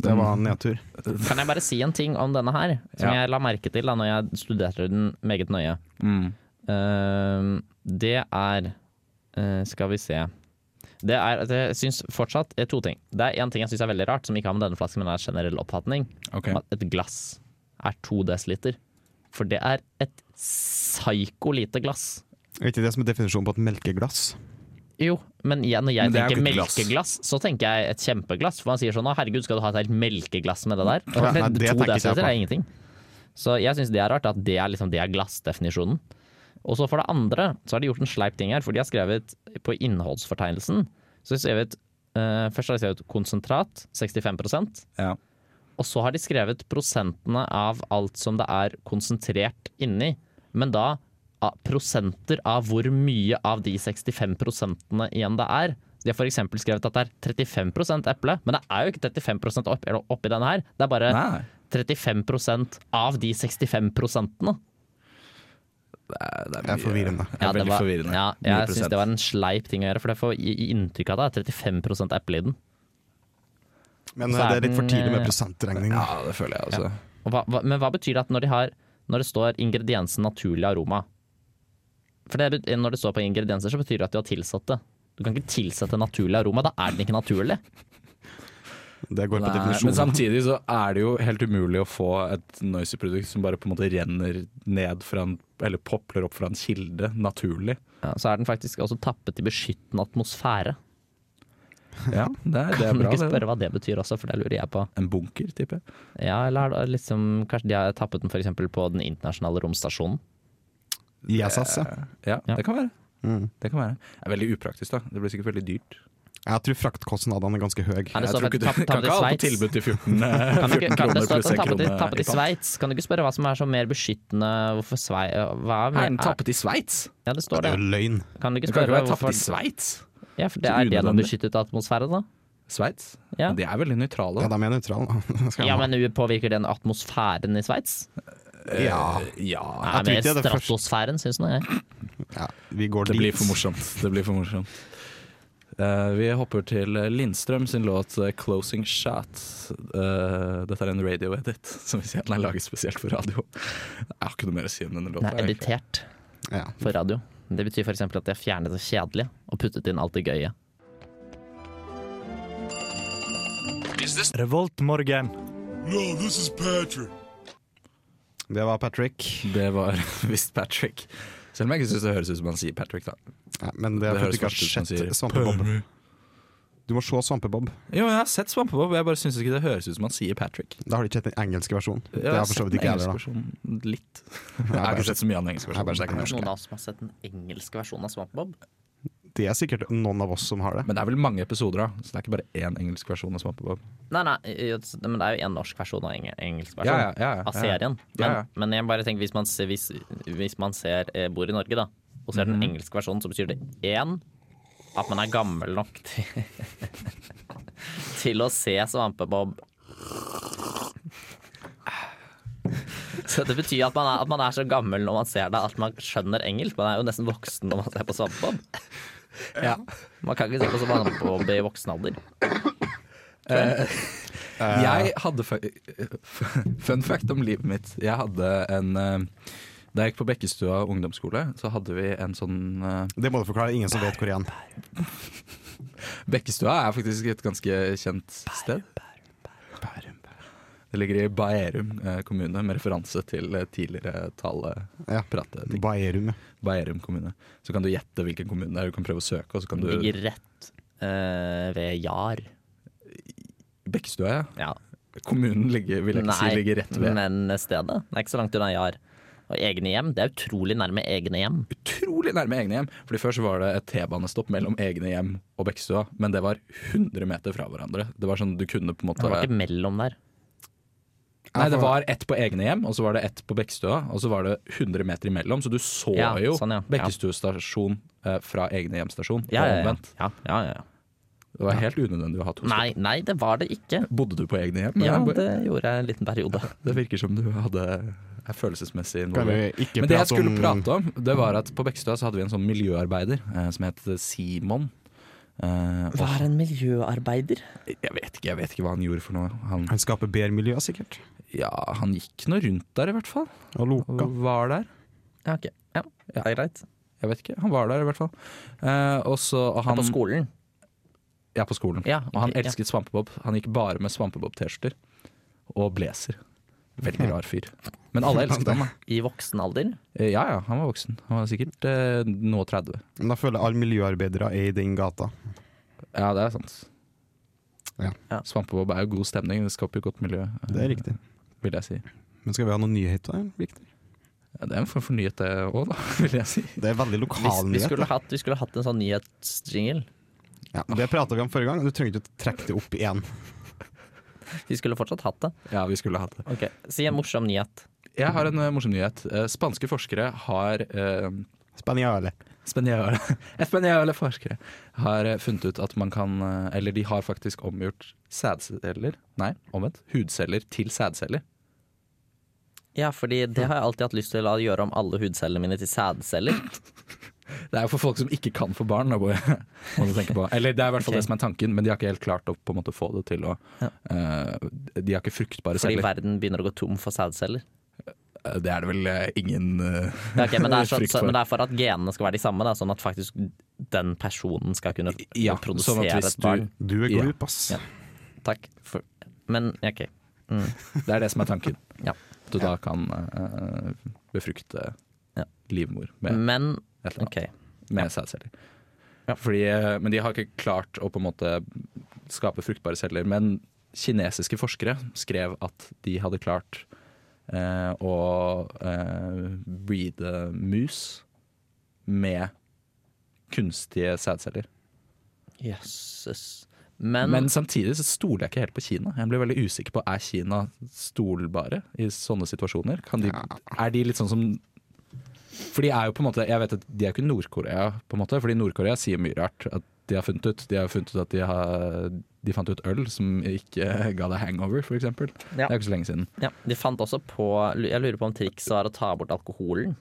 S6: det var en nedtur.
S7: Kan jeg bare si en ting om denne her, som
S2: Ja.
S7: jeg la merke til da når jeg studerte den meget nøye?
S2: Mm.
S7: Eh, det er eh, Skal vi se. Det er, det syns fortsatt det er to ting. Det er én ting jeg syns er veldig rart, som ikke har med denne flasken, men er en generell oppfatning.
S2: Ok.
S7: Om at et glass er to desiliter. For det er et psyko lite glass.
S6: Er ikke det som er definisjonen på et melkeglass?
S7: Jo, men jeg, når jeg
S2: Men det er jo
S7: tenker
S2: ikke et glass.
S7: melkeglass, så tenker jeg et kjempeglass. For man sier sånn 'Å, herregud, skal du ha et helt melkeglass med det der?' Og
S6: Ja,
S7: det,
S6: nei, det
S7: to
S6: tenker ikke jeg
S7: desiliter
S6: på.
S7: er ingenting. Så jeg syns det er rart at det er, liksom, det er glassdefinisjonen. Og så for det andre så har de gjort en sleip ting her, for de har skrevet på innholdsfortegnelsen Så har de skrevet eh, Først har de skrevet konsentrat, 65
S2: Ja.
S7: og så har de skrevet prosentene av alt som det er konsentrert inni. Men da ah, prosenter av hvor mye av de 65 prosentene igjen det er. De har f.eks. skrevet at det er 35 eple, men det er jo ikke 35 opp, eller oppi denne her. Det er bare
S2: Nei.
S7: 35 av de 65 prosentene.
S2: Det er, det er
S6: Det er
S2: mye-
S6: forvirrende.
S2: Det er
S7: det
S2: veldig
S7: var,
S2: forvirrende.
S7: Ja,
S2: Mye
S7: jeg syns
S2: prosent.
S7: det var en sleip ting å gjøre, for det får i, i inntrykk av at det er 35 eple i den.
S6: Men
S7: Så
S6: eh,
S7: er
S6: det er litt for
S7: den,
S6: tidlig med
S7: eh,
S6: prosentregning. da.
S2: Ja, det føler jeg også.
S7: Og hva, hva, men hva betyr det at når, de har, når det står ingrediensen naturlig aroma For det, bet- når det står på ingredienser, så betyr det at de har tilsatt det. Du kan ikke tilsette naturlig aroma, da er den ikke naturlig.
S6: Det går på
S2: Nei, men
S6: definisjonen.
S2: samtidig så er det jo helt umulig å få et noisy produkt som bare på en måte renner ned fra en Eller popler opp fra en kilde, naturlig.
S7: Ja, så er den faktisk også tappet i beskyttende atmosfære.
S2: Ja, det er, det er
S7: Kan du
S2: bra.
S7: ikke
S2: Det.
S7: spørre hva det betyr også, for det lurer jeg på.
S2: En bunker, tipper jeg.
S7: Ja, eller er det liksom, Kanskje de har tappet den for eksempel på den internasjonale romstasjonen?
S6: ISS, ja.
S2: Ja,
S7: Ja.
S2: det kan være.
S6: Mm.
S2: Det kan være. Det er veldig upraktisk, da. Det blir sikkert veldig dyrt.
S6: Jeg tror fraktkostnadene er ganske høye.
S7: Er det
S2: Jeg
S7: så
S2: tror
S7: for
S2: ikke
S7: tapp-
S2: du
S7: tappet
S2: kan
S7: i
S2: ikke ha alt på
S7: Sveits?
S2: tilbud til 14, eh,
S7: Kan du
S2: 14
S7: ikke, kan det
S2: kroner
S7: stå
S2: pluss
S7: at
S2: 1
S7: den tappet i,
S2: krone.
S7: tappet i Sveits? Kan du ikke spørre hva som er så mer beskyttende? Hvorfor Svei... Hva er
S2: Er den
S7: mer
S2: tappet i Sveits?
S7: Ja, det står
S6: Det
S7: det.
S6: er jo løgn.
S2: Den
S7: Kan du ikke
S2: kan ikke
S7: spørre
S2: være tappet
S7: hvorfor
S2: i Sveits.
S7: Ja, for det
S2: Så
S7: er
S2: unødvendig.
S7: gjennombeskyttet atmosfære, da.
S2: Sveits?
S7: Ja.
S2: De er veldig nøytrale.
S6: Ja,
S2: da.
S6: de er nøytrale. Skal jeg
S7: Ja,
S6: ha.
S7: men påvirker den atmosfæren i Sveits?
S6: Ja.
S2: ja.
S7: Nei,
S6: tror
S7: mer
S6: ikke det er det første.
S7: stratosfæren, syns nå jeg.
S6: ja, vi går
S2: Det
S6: dit.
S2: blir for morsomt. Det blir for morsomt. Eh, vi hopper til Lindstrøm sin låt eh, 'Closing Shot'. Eh, dette er en radio-edit, som vi sier den er laget spesielt for radio. Jeg har ikke noe mer å si om denne
S7: Den er
S2: låta. egentlig.
S7: editert
S6: Ja.
S7: for radio. Det betyr f.eks. at jeg fjernet det kjedelige og puttet inn alt det gøye.
S1: Revoltmorgen.
S6: Det var Patrick.
S2: Det var visst Patrick. Selv om jeg ikke syns det høres ut som han sier Patrick, da.
S6: Ja, men det
S2: Det
S6: er fordi
S2: høres
S6: du ikke
S2: faktisk ut som han
S6: har
S2: sier,
S6: sett Svampebob. Du må se Svampebob.
S2: Jo, jeg har sett Svampebob, jeg bare syns ikke det høres ut som han sier Patrick.
S6: Da har du ikke sett den engelske versjonen.
S2: Jeg
S6: det
S2: har
S6: har for så
S2: sett den
S6: vidt ikke jeg
S2: engelske
S6: heller.
S2: versjonen litt.
S6: da.
S2: Jeg
S6: Jeg
S2: har
S6: bare
S2: ikke sett så mye av den engelske
S6: jeg har bare
S2: versjonen. så jeg
S6: sett den
S2: kan
S6: norske.
S2: ikke-
S7: Noen av oss som har sett den engelske versjonen av Svampebob?
S6: Det er sikkert noen av oss som har det.
S2: Men det er vel mange episoder av, så det er ikke bare én engelsk versjon av Svampebob.
S7: Nei, nei, jo, men det er jo en norsk versjon og en engelsk versjon
S2: Ja, ja, ja, ja.
S7: av serien. Men,
S2: Ja, ja.
S7: men jeg bare tenker hvis man, ser- hvis, hvis man ser, eh, bor i Norge da, og ser
S2: Mhm.
S7: den engelske versjonen, så betyr det én at man er gammel nok til, til å se Svampebob. Så det betyr at man, er, at man er så gammel når man ser det at man skjønner engelsk. Man er jo nesten voksen når man ser på Svampebob. Man kan ikke se på Svampebob i voksen alder.
S2: Jeg hadde fa- Fun fact om livet mitt. Jeg hadde en eh, Da jeg gikk på Bekkestua ungdomsskole, så hadde vi en sånn eh,
S6: Det må du forklare. Ingen som vet korean.
S2: Bekkestua er faktisk et ganske kjent sted. Det ligger i Baerum eh, kommune, med referanse til eh, tidligere
S6: Ja.
S2: taleprateting.
S6: Baerum. ja.
S2: Baerum kommune. Så kan du gjette hvilken kommune det er, du kan prøve å søke, og så kan du
S7: Den ligger rett eh, ved Jar.
S2: Bekkestua, ja.
S7: Ja.
S2: Kommunen ligger, vil jeg ikke si ligger rett ved.
S7: men stedet. Det er ikke så langt unna Jar. Og egne hjem. Det er utrolig nærme egne hjem.
S2: utrolig nærme egne hjem. Fordi Før så var det et T-banestopp mellom egne hjem og Bekkestua, men det var 100 meter fra hverandre. Det var sånn du kunne på en
S7: Det var
S2: måte
S7: ikke mellom der.
S2: Nei, det var ett på egne hjem, og så var det ett på Bekkestua, og så var det 100 meter imellom. Så du så
S7: Ja,
S2: jo
S7: sånn, ja.
S2: Bekkestua stasjon eh, fra egne hjem stasjon. og
S7: Ja, ja, ja.
S2: omvendt.
S7: ja, ja, ja.
S2: Det var helt unødvendig å ha to stopp.
S7: Nei, nei, det var det ikke.
S2: Bodde du på egne hjem?
S7: Ja,
S2: Nei,
S7: det gjorde jeg en liten periode.
S2: det virker som du hadde er følelsesmessig
S6: Kan vi
S2: involvert.
S6: ikke
S2: Men det jeg
S6: prate
S2: skulle
S6: om
S2: prate om, det var at på Bekkestua så hadde vi en sånn miljøarbeider eh, som het Simon. Eh, og
S7: Hva er en miljøarbeider?
S2: Jeg vet ikke, jeg vet ikke hva han gjorde for noe. Han,
S6: Han skaper bedre miljø, sikkert.
S2: ja, han gikk nå rundt der i hvert fall.
S6: Og
S2: Og
S6: Loka.
S2: Var der.
S7: Ja, ok. Ja, det er greit.
S2: Jeg vet ikke, han var der i hvert fall. Eh, og så og han,
S7: på skolen.
S2: Ja, på skolen.
S7: Ja,
S2: Og han
S7: ok, ja.
S2: elsket svampebob. Han gikk bare med svampebob-T-skjorter og blazer. Veldig rar fyr. Men alle elsket ham. da.
S7: I voksen alder.
S2: Eh, Ja ja, han var voksen. Han var sikkert eh, nå 30.
S6: Men da føler jeg alle miljøarbeidere er i den gata.
S2: Ja, det er sant.
S6: Ja.
S7: Ja.
S2: Svampebob er jo god stemning, det skaper jo godt miljø, eh,
S6: Det er riktig.
S2: vil jeg si.
S6: Men skal vi ha noen nyheter? Victor?
S2: Ja, det er en form for nyhet det òg, da, vil jeg si.
S6: Det er veldig
S7: Vi,
S6: lokal
S7: vi,
S6: nyhet.
S7: skulle hatt, vi skulle hatt en sånn nyhetsjingle.
S6: Ja, det prata vi om forrige gang, og du trenger ikke å trekke det opp igjen.
S7: Vi skulle fortsatt hatt det.
S2: Ja, vi skulle hatt det.
S7: Ok, Si en morsom nyhet.
S2: Jeg har en eh, morsom nyhet. Eh, spanske forskere har eh,
S6: Spanjale.
S2: Spanjole, spanjole forskere har eh, funnet ut at man kan eh, Eller de har faktisk omgjort sædceller Nei, omvendt. Hudceller til sædceller.
S7: Ja, fordi det har jeg alltid hatt lyst til å gjøre om alle hudcellene mine til sædceller.
S2: Det er jo for folk som ikke kan få barn. Da, må jeg- må du tenke på. Eller det er i hvert fall
S7: Ok.
S2: det som er tanken, men de har ikke helt klart å på en måte få det til å
S7: Ja.
S2: eh, De har ikke fruktbare
S7: Fordi
S2: celler.
S7: verden begynner å gå tom for sædceller.
S2: Eh, Det er det vel eh, ingen eh,
S7: Ja, ok, men, det er sånn-
S2: frykt
S7: så,
S2: for.
S7: men det er for at genene skal være de samme, da, sånn at faktisk den personen skal kunne f-
S2: Ja, sånn
S7: produsere
S2: at hvis
S7: et barn.
S2: du
S6: Du er
S2: Ja.
S6: glup, ass.
S7: Ja. Takk. For, men OK.
S2: Det er det som er tanken.
S7: Ja.
S2: At du da kan eh, befrukte
S7: Ja.
S2: livmor med
S7: Men
S2: et eller annet.
S7: OK.
S2: med sædceller. Fordi, eh, men de har ikke klart å på en måte skape fruktbare celler. Men kinesiske forskere skrev at de hadde klart eh, å eh, breede mus med kunstige sædceller.
S7: Jøsses. Men,
S2: Men samtidig så stoler jeg ikke helt på Kina. Jeg blir veldig usikker på Er Kina stolbare i sånne situasjoner. Kan de, er de litt sånn som For de er jo på en måte Jeg vet at de er ikke Nord-Korea, på en måte. Fordi Nord-Korea sier mye rart. At de har funnet ut. De har funnet ut at de har De fant ut øl som ikke ga deg hangover, f.eks. eksempel Det
S7: Ja.
S2: er jo ikke så lenge siden.
S7: ja, de fant også på Jeg lurer på om trikset var å ta bort alkoholen.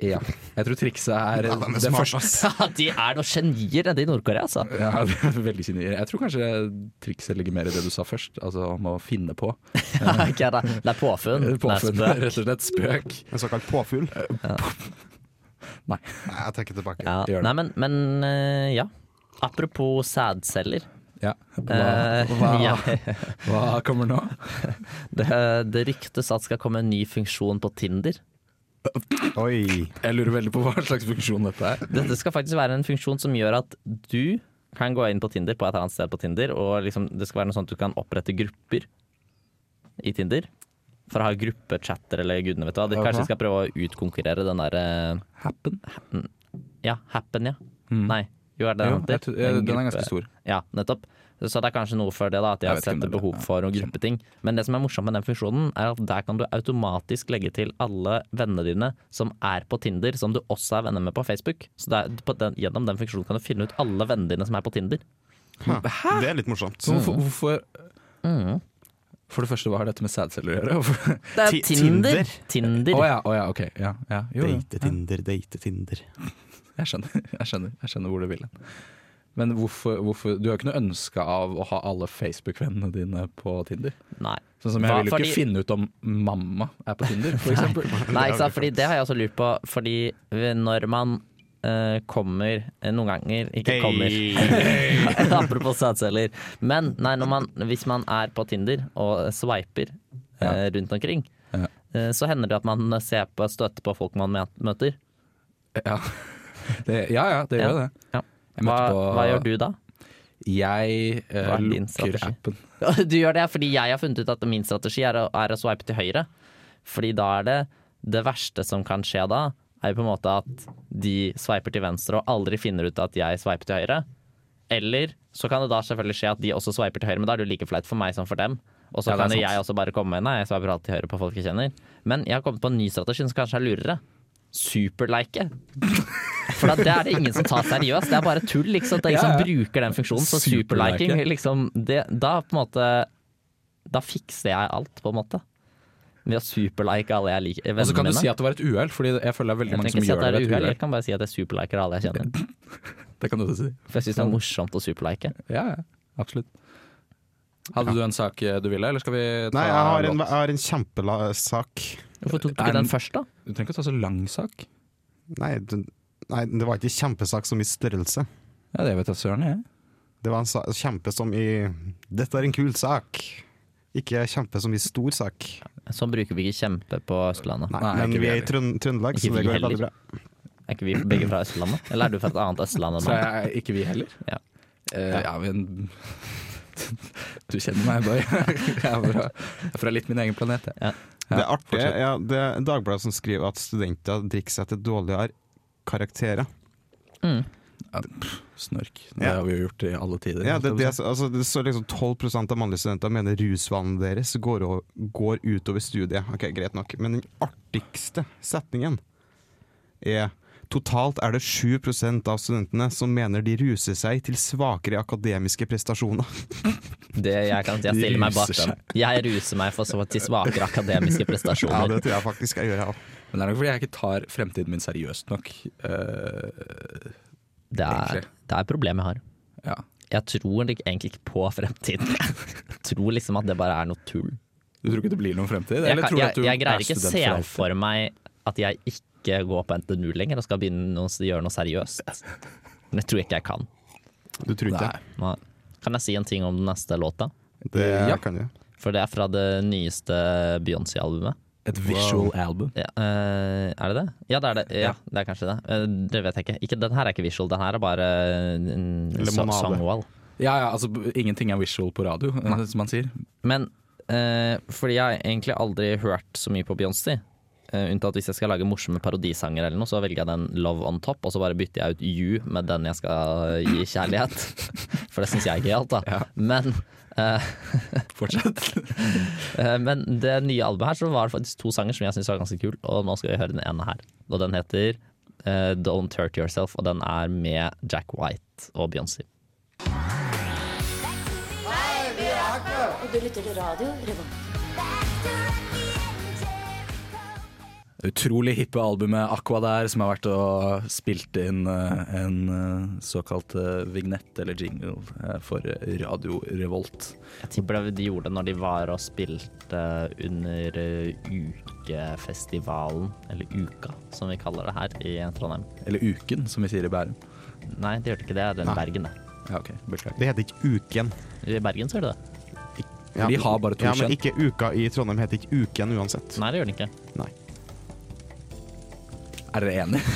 S2: Ja. Jeg tror trikset er
S6: Ja, den er
S2: det
S6: smart,
S2: første-
S6: ass.
S7: de er noen genier nede i Nord-Korea, altså.
S2: Ja, det er veldig genier. Jeg tror kanskje trikset ligger mer i det du sa først, altså om å finne på.
S7: Ikke er det det er påfunn. Det er
S2: Påfunn,
S7: spøk.
S2: rett og slett spøk.
S6: En såkalt påfugl?
S2: Nei.
S6: Nei, jeg trekker tilbake.
S7: Ja.
S2: Gjør det.
S7: Nei, men, men eh, ja. Apropos sædceller.
S2: Ja. Hva,
S7: Eh,
S2: hva,
S7: ja.
S2: hva kommer nå?
S7: Det, det ryktes at det skal komme en ny funksjon på Tinder.
S6: Oi.
S2: Jeg lurer veldig på hva slags funksjon dette er.
S7: Dette skal faktisk være en funksjon som gjør at du kan gå inn på Tinder på et annet sted på Tinder, og liksom, det skal være noe sånn at du kan opprette grupper i Tinder. For å ha gruppechatter eller gudene vet hva. De kanskje
S2: Aha.
S7: skal prøve å utkonkurrere den derre
S2: Happen?
S7: Ja, Happen, ja. Nei, jo er det
S2: Mm. Jo,
S7: den heter?
S2: jeg tror- ja,
S7: En
S2: den er
S7: gruppe-
S2: ganske stor.
S7: Ja, nettopp. Så det er kanskje noe for det, da, at de
S2: Jeg
S7: har
S2: vet ikke
S7: sett
S2: om det er
S7: behov
S2: det.
S7: for noen gruppeting. Men det som er morsomt med den funksjonen, er at der kan du automatisk legge til alle vennene dine som er på Tinder, som du også er venner med på Facebook. Så det er, på den, gjennom den funksjonen kan du finne ut alle vennene dine som er på Tinder.
S6: Det er litt morsomt.
S7: Sånn.
S2: Så hvorfor, hvorfor
S7: Mm.
S2: For det første, hva har dette med sædceller å gjøre? Hvorfor-
S7: Det
S6: Ti- Tinder?
S7: Tinder.
S2: Å ja, å ja, ok. Ja, ja. Jo, jo.
S6: Date Tinder, date Tinder.
S2: Jeg skjønner, jeg skjønner, jeg skjønner hvor du vil hen. Men hvorfor, hvorfor Du har jo ikke noe ønske av å ha alle Facebook-vennene dine på Tinder?
S7: Nei.
S2: Sånn som Jeg
S7: Hva-
S2: vil jo ikke
S7: fordi-
S2: finne ut om mamma er på Tinder, for eksempel.
S7: Nei, ikke sant? Fordi det har jeg også lurt på. Fordi når man eh, kommer eh, noen ganger Ikke
S6: Hey.
S7: kommer, apropos sædceller. Men nei, når man, hvis man er på Tinder og sveiper eh, rundt omkring,
S2: Ja.
S7: eh, så hender det at man ser på, støter på folk man mø- møter.
S2: Ja, det, ja, ja, det gjør jo det.
S7: Ja.
S2: Jeg
S7: Hva,
S2: møtte på-
S7: hva gjør du da?
S2: Jeg eh,
S7: Hva er din
S2: lukker
S7: strategi?
S2: appen.
S7: Du gjør det fordi jeg har funnet ut at min strategi er å, er å swipe til høyre. Fordi da er det det verste som kan skje da, er jo på en måte at de sveiper til venstre og aldri finner ut at jeg sveiper til høyre. Eller så kan det da selvfølgelig skje at de også sveiper til høyre, men da er det jo like flaut for meg som for dem. Og så
S2: Ja, det er
S7: kan jo
S2: sant.
S7: jeg også bare komme med Nei, jeg sveiper alltid til høyre på folk jeg kjenner. Men jeg har kommet på en ny strategi som kanskje er lurere. Superlike. For da, det er det ingen som tar seriøst. Det er bare tull, liksom. Det er ingen
S2: Ja, ja.
S7: som bruker den funksjonen. Så
S2: Superlike.
S7: superliking, liksom det, Da på en måte Da fikser jeg alt, på en måte. Ved å superlike alle jeg liker.
S2: Og så kan
S7: vennene
S2: du si
S7: mine.
S2: at det var et uhell, Fordi jeg føler det er veldig
S7: Jeg
S2: mange
S7: trenger
S2: som
S7: ikke si
S2: gjør
S7: at det
S2: det ved
S7: er
S2: et
S7: uhell,
S2: uhell.
S7: jeg kan bare si at jeg superliker alle jeg kjenner.
S2: Det kan du også si.
S7: For jeg syns det er morsomt å superlike.
S2: Ja, ja, absolutt. Hadde du en sak eh, du ville, eller skal vi ta
S6: Nei, jeg har
S2: låt?
S6: en, jeg har en kjempesak.
S7: Hvorfor tok du
S2: Er
S7: ikke
S2: den-
S7: den først, da?
S2: Du trenger ikke ta så lang sak.
S6: Nei, det- nei, det var ikke kjempesak som i størrelse.
S2: Ja, det vet jeg søren, jeg.
S6: Det var en sa kjempe som i 'dette er en kul sak'. Ikke kjempe som i stor sak.
S7: Sånn bruker vi ikke kjempe på Østlandet.
S6: Nei,
S2: Nei,
S6: men
S2: ikke
S6: vi
S2: vi
S6: er i
S2: heller.
S6: Trøn Trøndelag,
S7: Ikke
S6: så det
S7: vi
S6: går veldig
S7: heller.
S6: bra.
S7: Er ikke vi begge fra Østlandet? Eller er du fra et annet Østland enn
S2: Så
S7: meg?
S2: jeg, ikke vi heller.
S7: Ja.
S2: Eh, ja, men Du kjenner meg, Boy. Jeg er fra, jeg er fra litt min egen planet, jeg. Ja,
S6: det er artig.
S2: fortsett.
S6: Ja, det er Dagbladet som skriver at studenter drikker seg til dårligere karakterer.
S2: Snork. Det
S6: Ja.
S2: har vi jo gjort i alle tider.
S6: Ja, det,
S2: holdt
S6: det,
S2: jeg på å si.
S6: altså, det står liksom 12 av mannlige studenter mener rusvanen deres går, o- går utover studiet. Ok, Greit nok. Men den artigste setningen er Totalt er det 7 av studentene som mener de ruser seg til svakere akademiske prestasjoner.
S7: Det jeg kan si, jeg stiller meg bak
S2: Ruser
S7: den. Jeg ruser meg for så til svakere akademiske
S6: Ja,
S7: prestasjoner.
S6: det tror jeg faktisk jeg gjør, jeg òg.
S2: Men det er nok fordi jeg ikke tar fremtiden min seriøst nok. Eh,
S7: Det er, det er et problem jeg har.
S2: ja.
S7: Jeg tror lik- egentlig ikke på fremtiden. Jeg tror liksom at det bare er noe tull.
S2: Du tror ikke det blir noen fremtid?
S7: Jeg,
S2: Eller
S7: kan,
S2: tror du at
S7: jeg,
S2: du
S7: jeg
S2: er
S7: greier ikke
S2: student
S7: se
S2: for alltid?
S7: for meg at jeg ikke går på NTNU lenger og skal begynne å s- gjøre noe seriøst. Men det tror jeg ikke jeg kan.
S6: Du tror ikke det?
S7: Nei. Kan jeg si en ting om den neste låta?
S6: Det
S2: Ja.
S6: kan du.
S7: For det er fra det nyeste Beyoncé-albumet.
S2: Et visual album.
S7: Ja, eh, er det det? Ja, det er det. Ja, det er kanskje det. Eh, det vet jeg ikke. ikke. Den her er ikke visual, den her er bare en
S6: Lemonade.
S7: songwall.
S2: Ja, ja, altså b- ingenting er visual på radio, eh, som man sier.
S7: Men eh, fordi jeg har egentlig aldri hørt så mye på Beyoncé. eh, unntatt hvis jeg skal lage morsomme parodisanger eller noe, så velger jeg den Love on top, og så bare bytter jeg ut You med den jeg skal gi kjærlighet. For det syns jeg er gøyalt, da. Men eh,
S2: Fortsett.
S7: Eh, Men det nye albumet her så var det faktisk to sanger som jeg syntes var ganske kul, og nå skal vi høre den ene her. Og den heter eh, Don't Hurt Yourself, og den er med Jack White og Beyoncé.
S2: Utrolig hippe albumet Aqua der, som har vært og spilt inn eh, en eh, såkalt eh, vignett eller jingle eh, for Radio Revolt.
S7: Jeg tipper det de gjorde når de var og spilte under eh, ukefestivalen, eller Uka som vi kaller det her i Trondheim.
S2: Eller Uken, som vi sier i Bærum.
S7: Nei, de gjorde ikke det. Det er
S6: Nei.
S7: i Bergen, det.
S2: Ja, ok, beklager.
S6: Det heter ikke Uken.
S7: I Bergen så gjør de det.
S2: Ja. De har bare to
S6: Ja, men
S2: kjønn.
S6: ikke Uka i Trondheim heter ikke Uken uansett.
S7: Nei, det gjør de ikke.
S2: Er dere enige?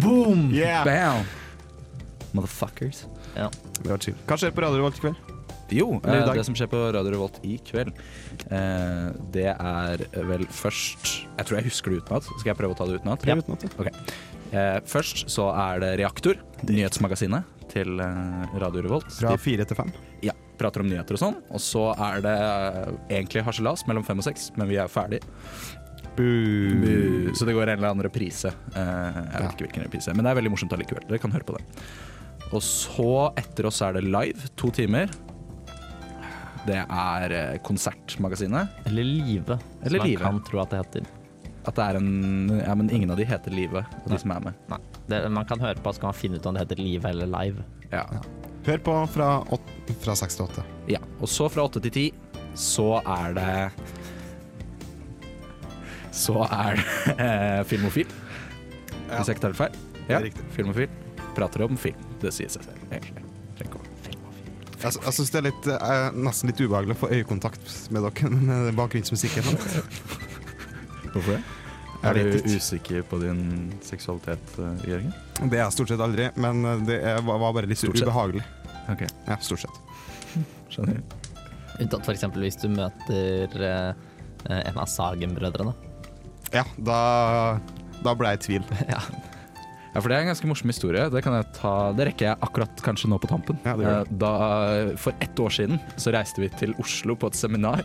S2: Boom!
S6: Yeah!
S2: Bam! Motherfuckers.
S7: Ja.
S6: Det var chill. Hva skjer på Radio Revolt i kveld?
S2: Jo,
S6: Eller i
S2: eh,
S6: dag.
S2: det som skjer på Radio Revolt i kveld, eh, det er vel først Jeg tror jeg husker det utenat. Skal jeg prøve å ta det utenat?
S6: Prøv utenat, ja.
S2: Ok. Eh, først så er det Reaktor, nyhetsmagasinet til eh, Radio Revolt.
S6: Fra fire til fem.
S2: De ja, prater om nyheter og sånn. Og så er det eh, egentlig harselas mellom fem og seks, men vi er ferdig. Bu. Mm. Så det går en eller annen reprise. Eh, jeg vet
S6: Ja.
S2: ikke hvilken reprise, men det er veldig morsomt allikevel. Dere kan høre på det. Og så etter oss er det live, to timer. Det er eh, Konsertmagasinet.
S7: Eller Live,
S2: Eller
S7: som
S2: Live.
S7: man kan tro at det heter.
S2: At det er en Ja, men ingen av de heter Live, de som er med.
S7: Nei. Det, man kan høre på, så kan man finne ut om det heter Live eller Live.
S2: Ja.
S6: Hør på fra, åt, fra seks til åtte.
S2: Ja, og så fra åtte til ti, så er det Så er det eh, Filmofil.
S6: Ja.
S2: Hvis jeg ikke tar det feil.
S6: Det er riktig.
S2: Filmofil. Prater om film. Det sier seg selv, egentlig. Trenger ikke å-
S6: Jeg, sy- jeg syns det er litt, eh, nesten litt ubehagelig å få øyekontakt med dere eh, med den bakgrunnsmusikken.
S2: Hvorfor det?
S6: Jeg
S2: Er
S6: vet
S2: du
S6: ikke.
S2: usikker på din seksualitet, eh, Jørgen?
S6: Det er jeg stort sett aldri, men eh, det er, var var bare litt
S2: Stort sett.
S6: ubehagelig.
S2: Ok,
S6: Ja, stort sett.
S2: skjønner.
S7: Unntatt f.eks. hvis du møter eh, en av Sagen-brødrene.
S6: Ja, da, da ble jeg i tvil.
S2: Ja, for det er en ganske morsom historie. Det, kan jeg ta, det rekker jeg akkurat kanskje nå på tampen.
S6: Ja, det gjør
S2: Eh, da, for ett år siden så reiste vi til Oslo på et seminar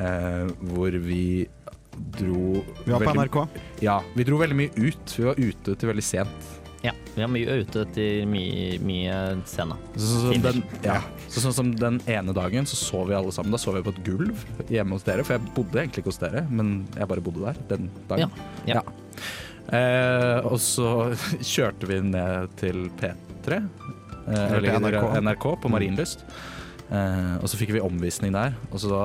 S2: eh, hvor vi dro
S6: Vi var på
S2: veldig-
S6: NRK.
S2: Ja, vi dro veldig mye ut. Vi var ute til veldig sent.
S7: Ja, vi er mye ute til mye, mye scene.
S2: Så, sånn, som
S7: Tinder.
S2: den, ja. så sånn som den ene dagen så sov vi alle sammen. Da sov vi på et gulv hjemme hos dere, for jeg bodde egentlig ikke hos dere, men jeg bare bodde der den dagen.
S7: Ja, ja.
S2: Eh, og så kjørte vi ned til P3, eh,
S6: Eller
S2: eller
S6: til
S2: NRK.
S6: NRK. Mm.
S2: på Marienlyst. Eh, og så fikk vi omvisning der, og så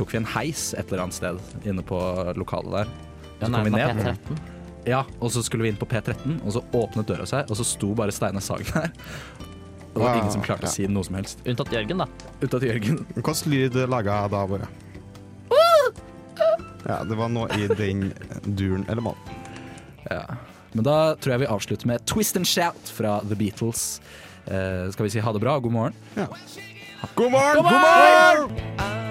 S2: tok vi en heis et eller annet sted inne på lokalet der. Så
S7: Den
S2: kom
S7: er
S2: vi
S7: på
S2: ned.
S7: P13.
S2: Ja, og så skulle vi inn på P13, og så åpnet døra seg, og så sto bare Steinar Sagen her. Og det var
S6: Wow,
S2: ingen som klarte å
S6: ja.
S2: si noe som helst.
S7: Unntatt Jørgen, da.
S2: Unntatt Jørgen.
S6: Hvilken lyd laga jeg da, bare? Ja, det var noe i den duren eller maten.
S2: Ja. Men da tror jeg vi avslutter med Twist and Shout fra The Beatles. Eh, skal vi si ha det bra og god morgen?
S6: God morgen! God morgen!
S3: I